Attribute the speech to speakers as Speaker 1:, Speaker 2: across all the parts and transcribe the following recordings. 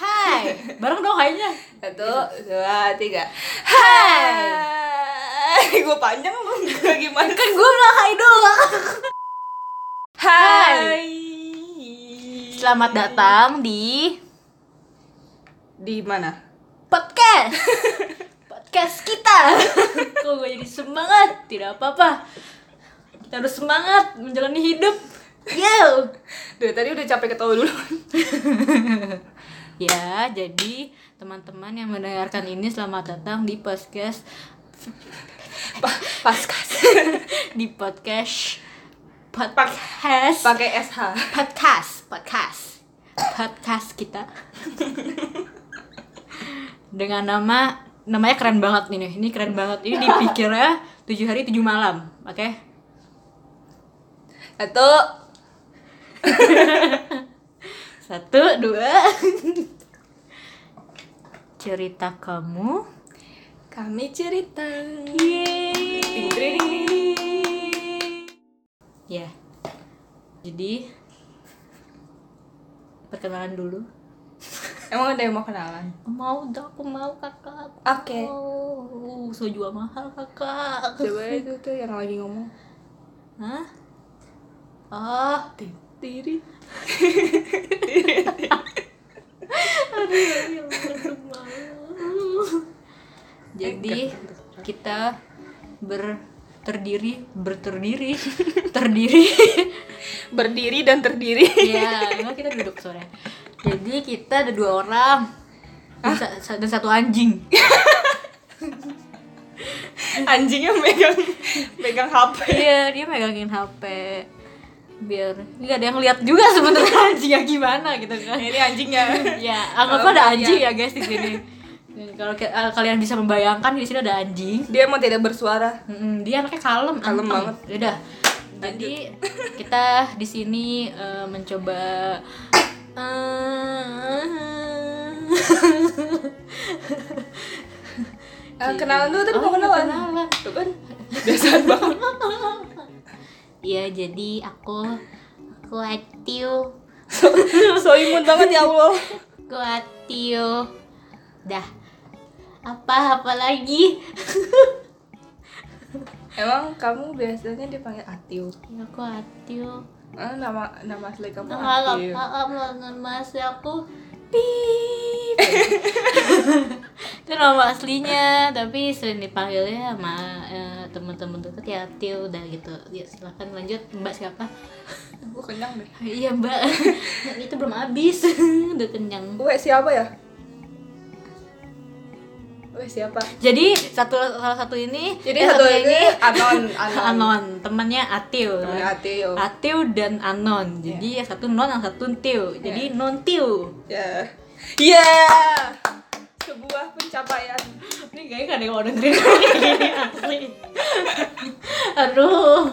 Speaker 1: Bareng dong hainya.
Speaker 2: Satu, dua, tiga. Hai. Gue panjang lu gue gimana?
Speaker 1: Kan gue bilang hai doang.
Speaker 2: Hai.
Speaker 1: Selamat datang di
Speaker 2: Di mana?
Speaker 1: podcast. podcast kita. Kok gue jadi semangat? Tidak apa-apa. Kita harus semangat menjalani hidup. Yo.
Speaker 2: Duh, tadi udah capek ketawa dulu.
Speaker 1: Ya, jadi teman-teman yang mendengarkan ini selamat datang di podcast
Speaker 2: Pa- Paskas.
Speaker 1: di podcast podcast
Speaker 2: Pakai SH.
Speaker 1: podcast podcast podcast kita dengan nama namanya keren banget ini ini keren banget ini dipikirnya tujuh hari tujuh malam oke
Speaker 2: Satu.
Speaker 1: satu dua cerita kamu
Speaker 2: Kami cerita. Ting,
Speaker 1: yeay
Speaker 2: ting, ting.
Speaker 1: ya jadi perkenalan dulu
Speaker 2: Emang ada yang mau kenalan?
Speaker 1: mau dong aku mau kakak aku
Speaker 2: Oke.
Speaker 1: mau. soju mahal kakak
Speaker 2: Coba itu tuh yang lagi ngomong.
Speaker 1: Hah? Oh,
Speaker 2: Tiri.
Speaker 1: ya jadi kita ber terdiri berterdiri terdiri
Speaker 2: Berdiri dan terdiri.
Speaker 1: ya emang kita duduk sore jadi kita ada dua orang dan, sa- dan satu anjing
Speaker 2: Anjingnya megang megang HP.
Speaker 1: iya dia megangin hp biar nggak ada yang lihat juga sebenarnya anjingnya gimana gitu kan
Speaker 2: Ini anjingnya.
Speaker 1: ya anggaplah ada anjing ya guys di sini Dan kalau ke- eh, kalian bisa membayangkan di sini ada anjing
Speaker 2: Dia emang tidak bersuara.
Speaker 1: Mm, dia anaknya kalem anteng.
Speaker 2: Kalem
Speaker 1: Ya
Speaker 2: banget.
Speaker 1: udah jadi kita di sini eh, mencoba
Speaker 2: Eh, kenalan dulu tadi
Speaker 1: Oh,
Speaker 2: mau kenalan.
Speaker 1: kenalan.
Speaker 2: Tuh kan biasaan banget.
Speaker 1: Iya jadi aku kuatiu
Speaker 2: So imun banget ya Allah.
Speaker 1: kuatiu dah apa apa lagi
Speaker 2: Emang kamu biasanya dipanggil Atiu.
Speaker 1: ya kuatiu
Speaker 2: Eh, nama nama asli kamu
Speaker 1: nggak
Speaker 2: Atiu.
Speaker 1: uh, nggak mas aku pip itu nama aslinya tapi sering dipanggilnya sama eh, teman-teman deket ya Tio udah gitu ya silakan lanjut mbak siapa
Speaker 2: Gue kenyang deh.
Speaker 1: iya mbak itu belum habis udah kenyang
Speaker 2: Gue siapa ya? Gue siapa?
Speaker 1: jadi satu salah satu ini
Speaker 2: Jadi
Speaker 1: eh,
Speaker 2: satu
Speaker 1: satunya
Speaker 2: ini Anon, Anon.
Speaker 1: Anon temannya Atil
Speaker 2: Temannya Atiu.
Speaker 1: Atil Iya. dan Anon jadi yang satu non yang satu Tio jadi non Tio
Speaker 2: Ya. Ya. Sebuah pencapaian.
Speaker 1: Ini kayaknya gak ada yang mau dengerin ini asli. Aduh.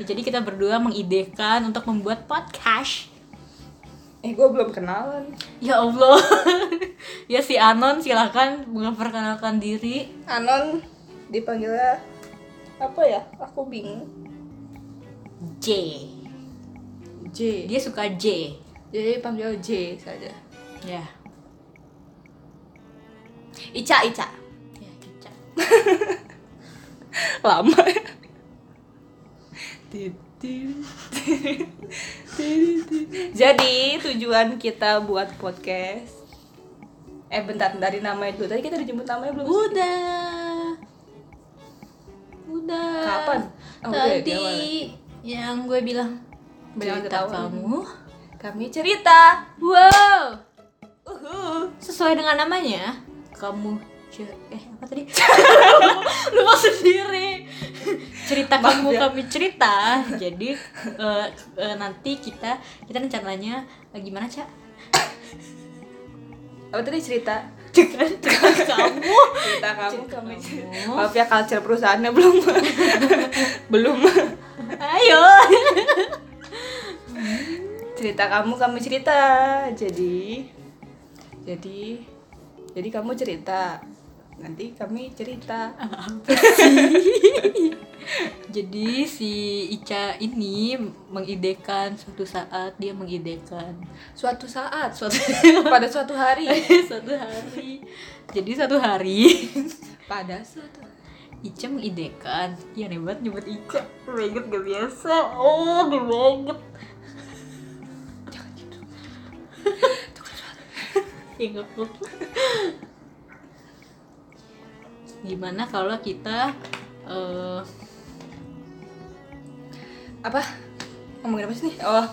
Speaker 1: Ya, jadi kita berdua mengidekan untuk membuat podcast.
Speaker 2: Eh, gue belum kenalan.
Speaker 1: Ya Allah. ya si Anon silakan memperkenalkan diri.
Speaker 2: Anon dipanggilnya apa ya? Aku bingung.
Speaker 1: J.
Speaker 2: J.
Speaker 1: Dia suka J.
Speaker 2: Jadi panggil J saja.
Speaker 1: Ya.
Speaker 2: Ica, Ica.
Speaker 1: Ya, kicap.
Speaker 2: Lama. Jadi tujuan kita buat podcast Eh bentar, dari namanya dulu Tadi kita dijemput namanya belum? sih?
Speaker 1: Udah. Udah.
Speaker 2: Kapan? Oh, udah, di
Speaker 1: Tadi
Speaker 2: awal
Speaker 1: yang gue bilang
Speaker 2: Banyak
Speaker 1: cerita
Speaker 2: ketawa.
Speaker 1: kamu.
Speaker 2: Kami cerita
Speaker 1: Wow.
Speaker 2: Uhuh.
Speaker 1: sesuai dengan namanya kamu ce- eh apa tadi lupa sendiri cerita kamu
Speaker 2: ya.
Speaker 1: kami cerita jadi eh, eh, nanti kita kita rencananya eh, gimana cak
Speaker 2: Apa tadi cerita?
Speaker 1: dengan dengan kamu
Speaker 2: Cerita kamu
Speaker 1: Cerita kamu.
Speaker 2: kami cerita. Maaf ya culture perusahaannya belum Belum
Speaker 1: ayo
Speaker 2: Cerita kamu kami cerita Jadi Jadi Jadi kamu cerita nanti kami cerita
Speaker 1: Jadi si Ica ini mengidekan suatu saat dia mengidekan
Speaker 2: suatu saat
Speaker 1: suatu
Speaker 2: pada suatu hari
Speaker 1: suatu hari. Jadi satu hari
Speaker 2: pada suatu
Speaker 1: Ica mengidekan Iya aneh banget nyebut Ica Banget gak biasa Oh gak banget
Speaker 2: jangan gitu
Speaker 1: Ya gak apa-apa. Gimana kalau kita eh
Speaker 2: apa ngomongin apa sih nih oh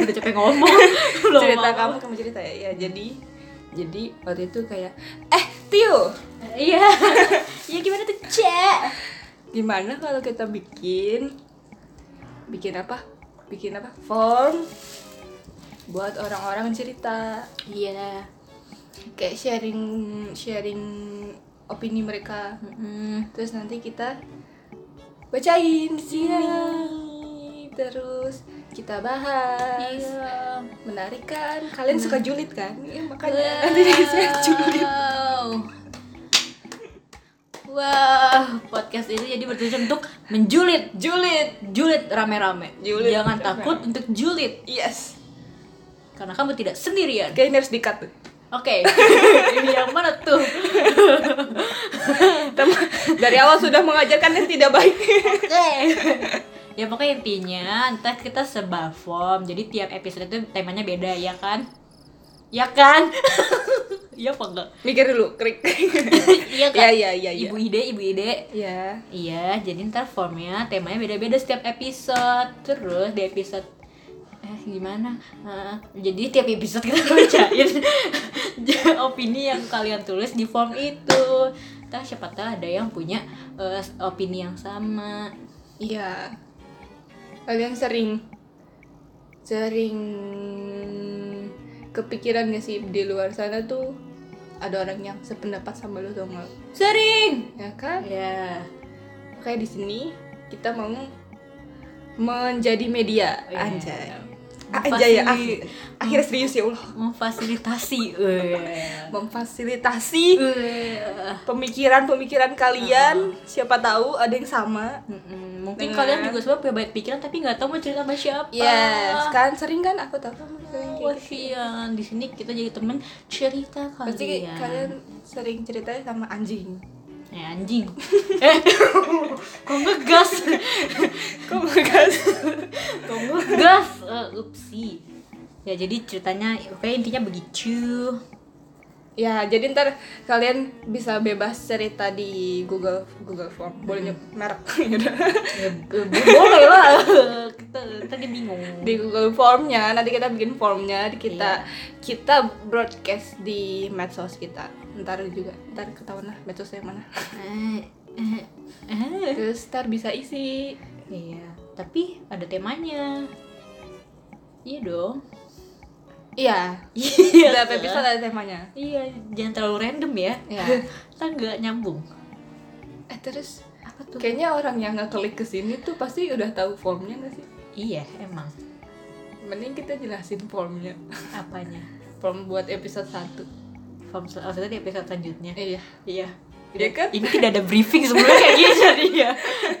Speaker 1: Udah capek ngomong Belum
Speaker 2: cerita
Speaker 1: mau.
Speaker 2: kamu kamu cerita ya ya jadi jadi waktu itu kayak eh Tio
Speaker 1: Iya Iya gimana tuh Cek
Speaker 2: gimana kalau kita bikin bikin apa bikin apa form buat orang-orang cerita
Speaker 1: Iya
Speaker 2: kayak sharing sharing opini mereka
Speaker 1: Mm-mm.
Speaker 2: terus nanti kita bacain di sini terus kita bahas menarik kan kalian suka julid kan Iya, makanya Iya. nanti saya julid
Speaker 1: Wow. Wow, podcast ini jadi bertujuan untuk menjulit,
Speaker 2: julid
Speaker 1: julit rame-rame.
Speaker 2: Julid
Speaker 1: Jangan
Speaker 2: rame-rame.
Speaker 1: takut untuk julit
Speaker 2: yes
Speaker 1: karena kamu tidak sendirian.
Speaker 2: kayaknya ini harus dikat tuh
Speaker 1: Oke. ini yang mana tuh?
Speaker 2: Tem- dari awal sudah mengajarkan yang tidak baik
Speaker 1: Oke. ya pokoknya intinya entah kita sebab form. Jadi tiap episode itu temanya beda ya kan? Ya kan? Iya apa enggak?
Speaker 2: mikir dulu krik
Speaker 1: Iya kan?
Speaker 2: ya ya ya ya
Speaker 1: Ibu ide, ibu ide.
Speaker 2: ya
Speaker 1: Iya, jadi ntar formnya temanya beda-beda setiap episode. Terus di episode eh gimana? Eh, jadi tiap episode kita bacain opini yang kalian tulis di form itu. Ntar siapa tahu ada yang punya eh, opini yang sama.
Speaker 2: iya kalian sering sering kepikiran gak sih di luar sana tuh ada orang yang sependapat sama lu atau enggak
Speaker 1: Sering.
Speaker 2: ya kan
Speaker 1: Ya.
Speaker 2: Kayak di sini kita mau menjadi media
Speaker 1: Iya.
Speaker 2: anjay. Anjay
Speaker 1: Memfasili-
Speaker 2: ya, akhir- akhirnya serius ya Allah.
Speaker 1: Memfasilitasi. Eh.
Speaker 2: Memfasilitasi
Speaker 1: Eh.
Speaker 2: pemikiran-pemikiran kalian, siapa tahu ada yang sama.
Speaker 1: Mm-mm. Mungkin
Speaker 2: Bener.
Speaker 1: kalian juga sebab punya banyak pikiran tapi nggak tahu mau cerita sama siapa.
Speaker 2: Yes, kan sering kan aku tahu kamu sering kayak gitu.
Speaker 1: Kasian iya. di sini kita jadi temen cerita kalian.
Speaker 2: Pasti kalian sering ceritanya sama anjing.
Speaker 1: Eh anjing. eh. Kok ngegas?
Speaker 2: Kok guys?
Speaker 1: Kok ngegas? Eh, upsi. Ya jadi ceritanya oke intinya begitu.
Speaker 2: Ya, jadi ntar kalian bisa bebas cerita di Google Google Form. Boleh nyebut merek. Yaudah.
Speaker 1: Ya, eh, boleh lah. kita tadi bingung.
Speaker 2: di Google Formnya nanti kita bikin formnya kita kita broadcast di medsos kita ntar juga ntar ketahuan lah medsos yang mana
Speaker 1: Eh, eh, eh.
Speaker 2: terus ntar bisa isi
Speaker 1: Iya, tapi ada temanya. Iya dong.
Speaker 2: iya
Speaker 1: Iya.
Speaker 2: setiap episode ada temanya
Speaker 1: Iya, jangan terlalu random ya.
Speaker 2: Iya.
Speaker 1: Kita nggak nyambung.
Speaker 2: eh terus
Speaker 1: Apa tuh?
Speaker 2: kayaknya orang yang nggak klik ke sini tuh pasti udah tahu formnya nggak sih
Speaker 1: Iya, emang.
Speaker 2: mending kita jelasin formnya
Speaker 1: Apanya?
Speaker 2: form buat episode 1
Speaker 1: Form sel- oh, itu di episode selanjutnya.
Speaker 2: iya
Speaker 1: Iya.
Speaker 2: Iya kan?
Speaker 1: Ini tidak ada briefing sebelumnya kayak gini jadi ya.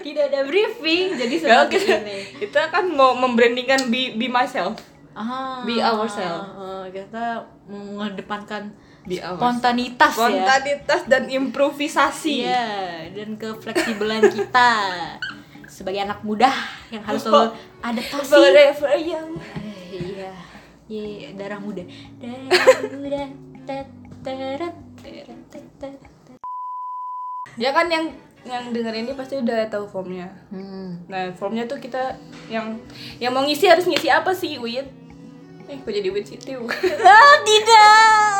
Speaker 1: Tidak ada briefing jadi seperti
Speaker 2: kita,
Speaker 1: ini.
Speaker 2: kita kan mau membrandingkan be, be myself
Speaker 1: Ah,
Speaker 2: Be ourselves.
Speaker 1: eh, kita mengedepankan
Speaker 2: Be ourselves.
Speaker 1: spontanitas, ya.
Speaker 2: spontanitas dan improvisasi
Speaker 1: Iya, dan kefleksibelan kita sebagai anak muda yang harus selalu adaptasi.
Speaker 2: forever young
Speaker 1: Eh, iya. Ye, darah muda. Darah muda. Tet, teret, teret, tet, tet.
Speaker 2: ya kan yang yang denger ini pasti udah tahu formnya
Speaker 1: Hmm.
Speaker 2: nah formnya tuh kita yang yang mau ngisi harus ngisi apa sih wit eh kok jadi wit sih Tiu?
Speaker 1: Ah, tidak.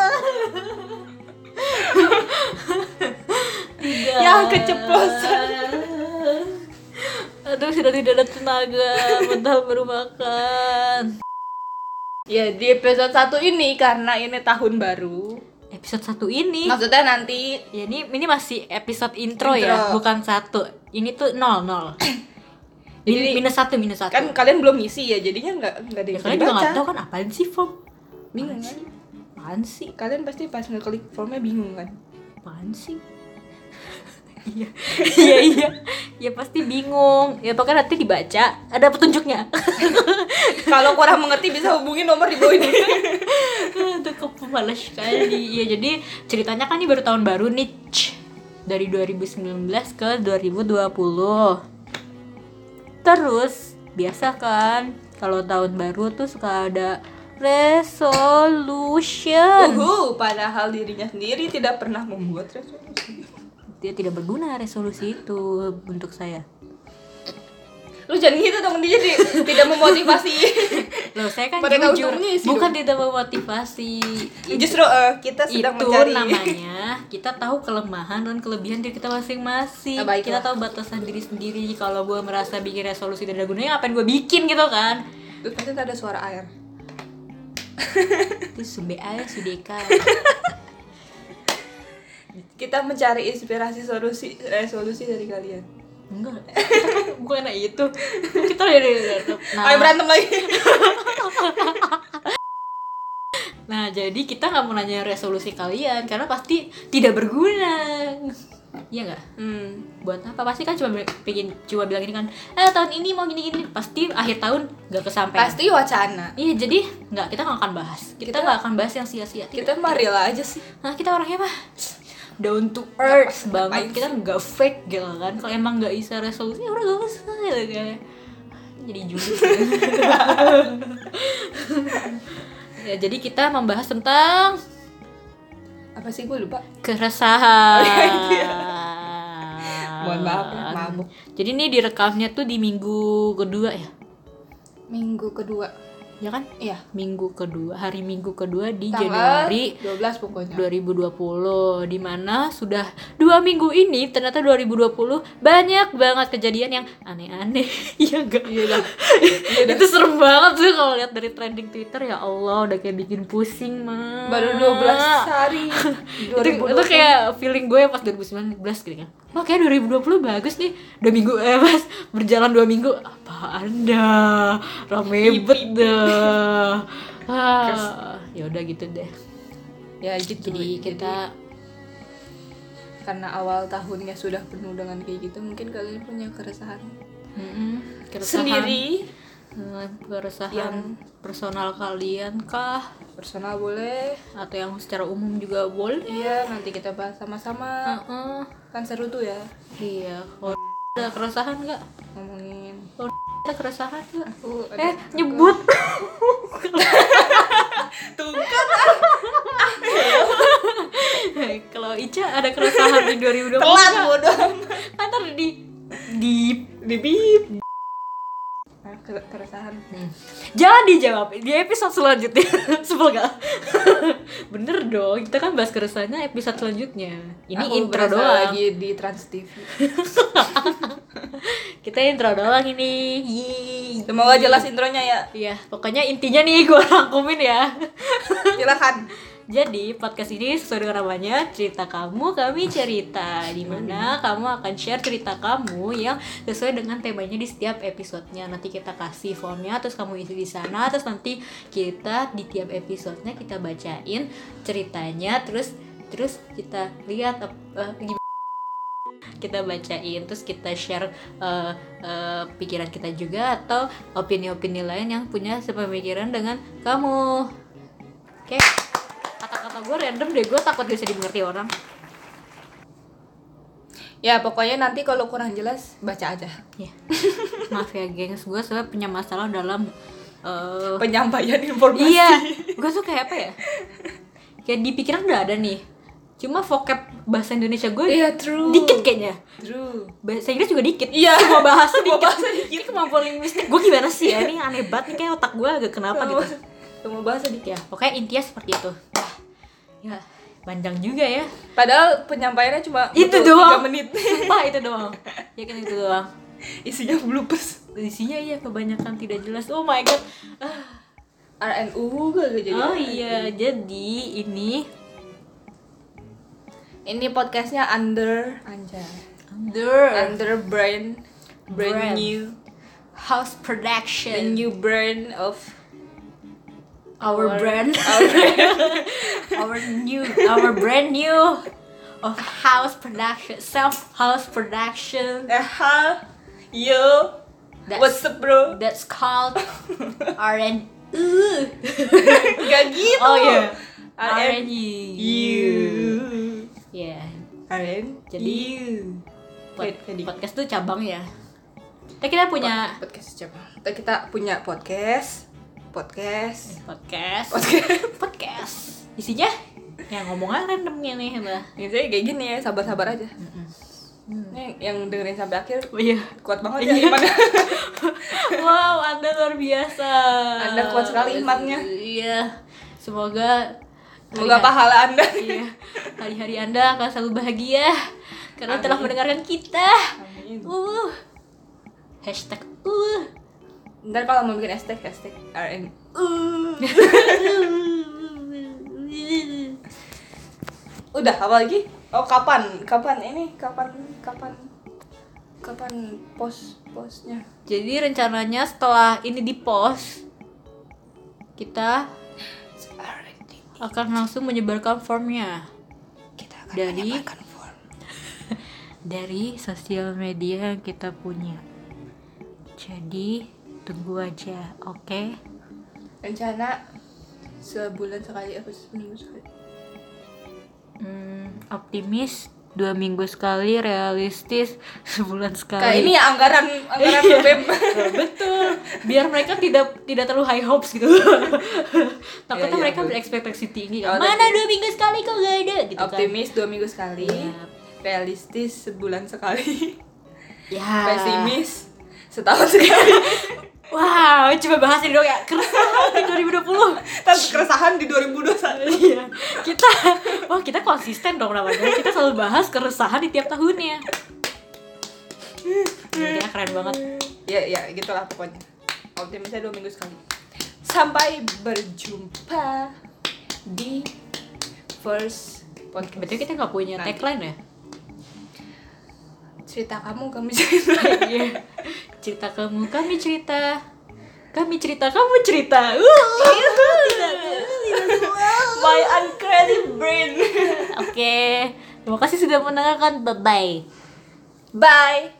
Speaker 1: tidak.
Speaker 2: Ya, keceplosan.
Speaker 1: Aduh, sudah tidak ada tenaga, mentah baru makan.
Speaker 2: ya di episode satu ini karena ini tahun baru
Speaker 1: Episode satu ini,
Speaker 2: maksudnya nanti
Speaker 1: ya ini ini masih episode intro, ya,
Speaker 2: Intro.
Speaker 1: bukan satu. Ini tuh nol nol. Min-
Speaker 2: Jadi-
Speaker 1: minus satu minus satu.
Speaker 2: kan kalian belum ngisi ya jadinya nggak nggak ada
Speaker 1: ya,
Speaker 2: yang
Speaker 1: kalian juga nggak tahu kan apaan sih form?
Speaker 2: bingung
Speaker 1: Apaan
Speaker 2: kan
Speaker 1: sih? Apaan sih?
Speaker 2: kalian pasti pas ngeklik formnya bingung kan
Speaker 1: apaan sih iya iya iya ya pasti bingung ya pokoknya nanti dibaca ada petunjuknya
Speaker 2: Kalau kurang mengerti bisa hubungi nomor di bawah ini.
Speaker 1: Aduh, kepala sekali ya jadi ceritanya kan ini baru tahun baru nih Cih. dari 2019 ke 2020 terus biasa kan kalau tahun baru tuh suka ada resolution
Speaker 2: Uhu, padahal dirinya sendiri tidak pernah membuat resolusi.
Speaker 1: dia tidak berguna resolusi itu untuk saya
Speaker 2: Lu jangan gitu dong, dia jadi tidak memotivasi.
Speaker 1: loh saya kan
Speaker 2: Mereka
Speaker 1: jujur
Speaker 2: udah mengisi
Speaker 1: bukan tidak memotivasi
Speaker 2: Justru eh, kita sedang
Speaker 1: itu
Speaker 2: mencari
Speaker 1: namanya kita tahu kelemahan dan kelebihan diri kita masing-masing
Speaker 2: Nah, baiklah.
Speaker 1: kita tahu batasan diri sendiri kalau gue merasa bikin resolusi tidak ada gunanya ngapain gue bikin gitu kan
Speaker 2: Lu pasti ada suara air.
Speaker 1: itu sumbe aja sudeka
Speaker 2: Kita mencari inspirasi solusi resolusi dari kalian.
Speaker 1: enggak bukan anak itu kita dari
Speaker 2: Ayo berantem lagi.
Speaker 1: nah jadi kita nggak mau nanya resolusi kalian karena pasti tidak berguna Iya nggak?
Speaker 2: Hmm.
Speaker 1: buat apa pasti kan cuma bikin cuma bilang ini kan eh tahun ini mau gini gini pasti akhir tahun nggak kesampaian
Speaker 2: Pasti wacana.
Speaker 1: Iya jadi nggak kita nggak akan bahas kita
Speaker 2: Kita-
Speaker 1: nggak akan bahas yang sia-sia
Speaker 2: Kita mah rela aja sih.
Speaker 1: nah kita orangnya mah down to earth
Speaker 2: ngapain
Speaker 1: banget kita nggak fake gitu kan kalau emang nggak bisa resolusi ya udah nggak usah gitu kan jadi jujur ya jadi kita membahas tentang
Speaker 2: Apa sih gue lupa?
Speaker 1: keresahan
Speaker 2: Iya. Mohon maaf ya, mabuk.
Speaker 1: jadi ini direkamnya tuh di minggu kedua ya
Speaker 2: Minggu kedua.
Speaker 1: ya kan
Speaker 2: Iya.
Speaker 1: minggu kedua hari minggu kedua di
Speaker 2: Tanggal
Speaker 1: Januari
Speaker 2: 12 pokoknya.
Speaker 1: 2020 dimana sudah dua minggu ini ternyata 2020 banyak banget kejadian yang aneh-aneh ya enggak
Speaker 2: Iya
Speaker 1: itu serem banget sih kalau lihat dari trending Twitter ya Allah udah kayak bikin pusing mah
Speaker 2: Baru 12 hari.
Speaker 1: itu, itu kayak feeling gue pas 2019 gitu kan Wah kayak 2020 bagus nih Dua minggu, eh mas Berjalan dua minggu Apa anda Rame bet dah ah, Ya udah gitu deh
Speaker 2: ya gitu.
Speaker 1: Jadi kita
Speaker 2: karena awal tahunnya sudah penuh dengan kayak gitu mungkin kalian punya keresahan
Speaker 1: Mm-mm, keresahan.
Speaker 2: sendiri
Speaker 1: Eh, keresahan
Speaker 2: Yang-
Speaker 1: personal kalian kah
Speaker 2: personal boleh
Speaker 1: atau yang secara umum juga boleh
Speaker 2: iya nanti kita bahas sama-sama
Speaker 1: Heeh.
Speaker 2: kan seru tuh ya
Speaker 1: iya kalau ada keresahan nggak
Speaker 2: ngomongin
Speaker 1: kalau ada keresahan nggak
Speaker 2: uh,
Speaker 1: eh nyebut
Speaker 2: Eh, tuh kan
Speaker 1: kalau Ica ada keresahan di 2020
Speaker 2: telat
Speaker 1: nggak?
Speaker 2: bodoh
Speaker 1: kan ntar di di
Speaker 2: di bip Nah, kere- keresahan
Speaker 1: Jangan dijawab di episode selanjutnya. Sebel gak? Bener dong, kita kan bahas keresahannya episode selanjutnya. Ini
Speaker 2: Aku
Speaker 1: intro
Speaker 2: berasa
Speaker 1: doang.
Speaker 2: lagi di Trans TV
Speaker 1: Kita intro doang ini. Yeay.
Speaker 2: semoga jelas intronya ya
Speaker 1: Iya, pokoknya intinya nih gue rangkumin ya.
Speaker 2: silakan
Speaker 1: Jadi podcast ini sesuai dengan namanya cerita kamu kami cerita di mana kamu akan share cerita kamu yang sesuai dengan temanya di setiap episodenya nanti kita kasih formnya terus kamu isi di sana terus nanti kita di tiap episodenya kita bacain ceritanya terus terus kita lihat ap- eh, gimana kita bacain terus kita share eh, eh, pikiran kita juga atau opini-opini lain yang punya sepemikiran dengan kamu oke kata-kata gue random deh gue takut gak bisa dimengerti orang
Speaker 2: ya pokoknya nanti kalau kurang jelas baca aja
Speaker 1: ya maaf ya gengs gue sebenarnya punya masalah dalam eh,
Speaker 2: penyampaian informasi
Speaker 1: iya gue tuh kayak apa ya kayak di pikiran udah ada nih cuma vocab bahasa Indonesia gue
Speaker 2: Iya, true
Speaker 1: dikit kayaknya
Speaker 2: true
Speaker 1: bahasa Inggris juga dikit
Speaker 2: Iya.
Speaker 1: semua bahasa dikit
Speaker 2: Semua bahasa
Speaker 1: Ini kemampuan linguistik gue gimana sih ya ini aneh banget nih kayak otak gue agak kenapa
Speaker 2: Oh.
Speaker 1: gitu
Speaker 2: semua bahasa dikit
Speaker 1: ya pokoknya intinya seperti itu ya panjang juga ya
Speaker 2: Padahal penyampaiannya cuma
Speaker 1: itu
Speaker 2: butuh
Speaker 1: doang
Speaker 2: tiga menit.
Speaker 1: Sumpah, itu doang ya kan itu doang
Speaker 2: Isinya bloopers.
Speaker 1: isinya ya kebanyakan tidak jelas oh my god Ah.
Speaker 2: RNU gak jadi. eh,
Speaker 1: oh iya jadi ini
Speaker 2: Ini podcastnya under anjay.
Speaker 1: under
Speaker 2: Under brand brand,
Speaker 1: Brand.
Speaker 2: new
Speaker 1: house
Speaker 2: the
Speaker 1: production
Speaker 2: new brand of
Speaker 1: our brand
Speaker 2: our brand.
Speaker 1: our new our brand new of house production, self house production.
Speaker 3: Aha, yo, what's
Speaker 1: That's
Speaker 3: up bro?
Speaker 1: that's called R&U.
Speaker 3: Gak gitu.
Speaker 1: Oh, iya.
Speaker 3: R&U.
Speaker 1: R&U. Ya,
Speaker 3: R&U.
Speaker 1: Jadi- pod-
Speaker 3: Wait, jadi-
Speaker 1: podcast tuh cabang ya. Tapi kita punya
Speaker 2: podcast coba kita punya podcast podcast
Speaker 1: podcast,
Speaker 2: podcast
Speaker 1: podcast. Isinya yang ngomongnya randomnya nih, Mbak.
Speaker 2: ini saya kayak gini ya sabar-sabar aja Ini yang dengerin sampai akhir
Speaker 1: Oh iya.
Speaker 2: kuat banget ya
Speaker 1: Iya.
Speaker 2: imannya
Speaker 1: Wow, Anda luar biasa.
Speaker 2: Anda kuat sekali imannya.
Speaker 1: Iya. Semoga
Speaker 2: semoga
Speaker 1: hari-hari-
Speaker 2: pahala anda
Speaker 1: Iya. Hari-hari Anda akan selalu bahagia karena telah mendengarkan kita.
Speaker 2: Amin.
Speaker 1: Uh. Hashtag uh.
Speaker 2: ntar kalau mau bikin hashtag hashtag RN udah apa lagi oh kapan kapan ini kapan kapan kapan post postnya
Speaker 1: Jadi rencananya setelah ini di post kita akan langsung menyebarkan formnya
Speaker 2: kita akan
Speaker 1: Dari-
Speaker 2: menyebarkan form
Speaker 1: dari sosial media yang kita punya. Jadi tunggu aja, oke?
Speaker 2: rencana sebulan sekali atau seminggu sekali
Speaker 1: Hmm, optimis dua minggu sekali, realistis sebulan sekali.
Speaker 2: kayak ini ya anggaran anggaran BEM
Speaker 1: betul biar mereka tidak tidak terlalu high hopes gitu takutnya
Speaker 2: Iya, iya,
Speaker 1: mereka
Speaker 2: betul.
Speaker 1: berekspektasi tinggi
Speaker 2: Oh,
Speaker 1: kan mana
Speaker 2: tapi-
Speaker 1: dua minggu sekali kok gak ada gitu Iya.
Speaker 2: optimis dua minggu sekali
Speaker 1: Yap.
Speaker 2: realistis sebulan sekali
Speaker 1: kan ya
Speaker 2: pesimis setahun sekali
Speaker 1: wow coba bahas ini dong ya keresahan di 2020
Speaker 2: terus keresahan di 2021
Speaker 1: iya kita wah kita konsisten dong namanya kita selalu bahas keresahan di tiap tahunnya Gila, keren banget
Speaker 2: ya ya gitulah pokoknya optimisnya dua minggu sekali sampai berjumpa di first podcast
Speaker 1: betul kita nggak punya
Speaker 2: Nanti.
Speaker 1: tagline ya
Speaker 2: cerita kamu kami cerita
Speaker 1: Iya. cerita kamu kami cerita kami cerita kamu cerita Uh, uh, tidak, uh, tidak semua.
Speaker 2: my uncreative brain
Speaker 1: oke terima kasih sudah mendengarkan bye bye
Speaker 2: bye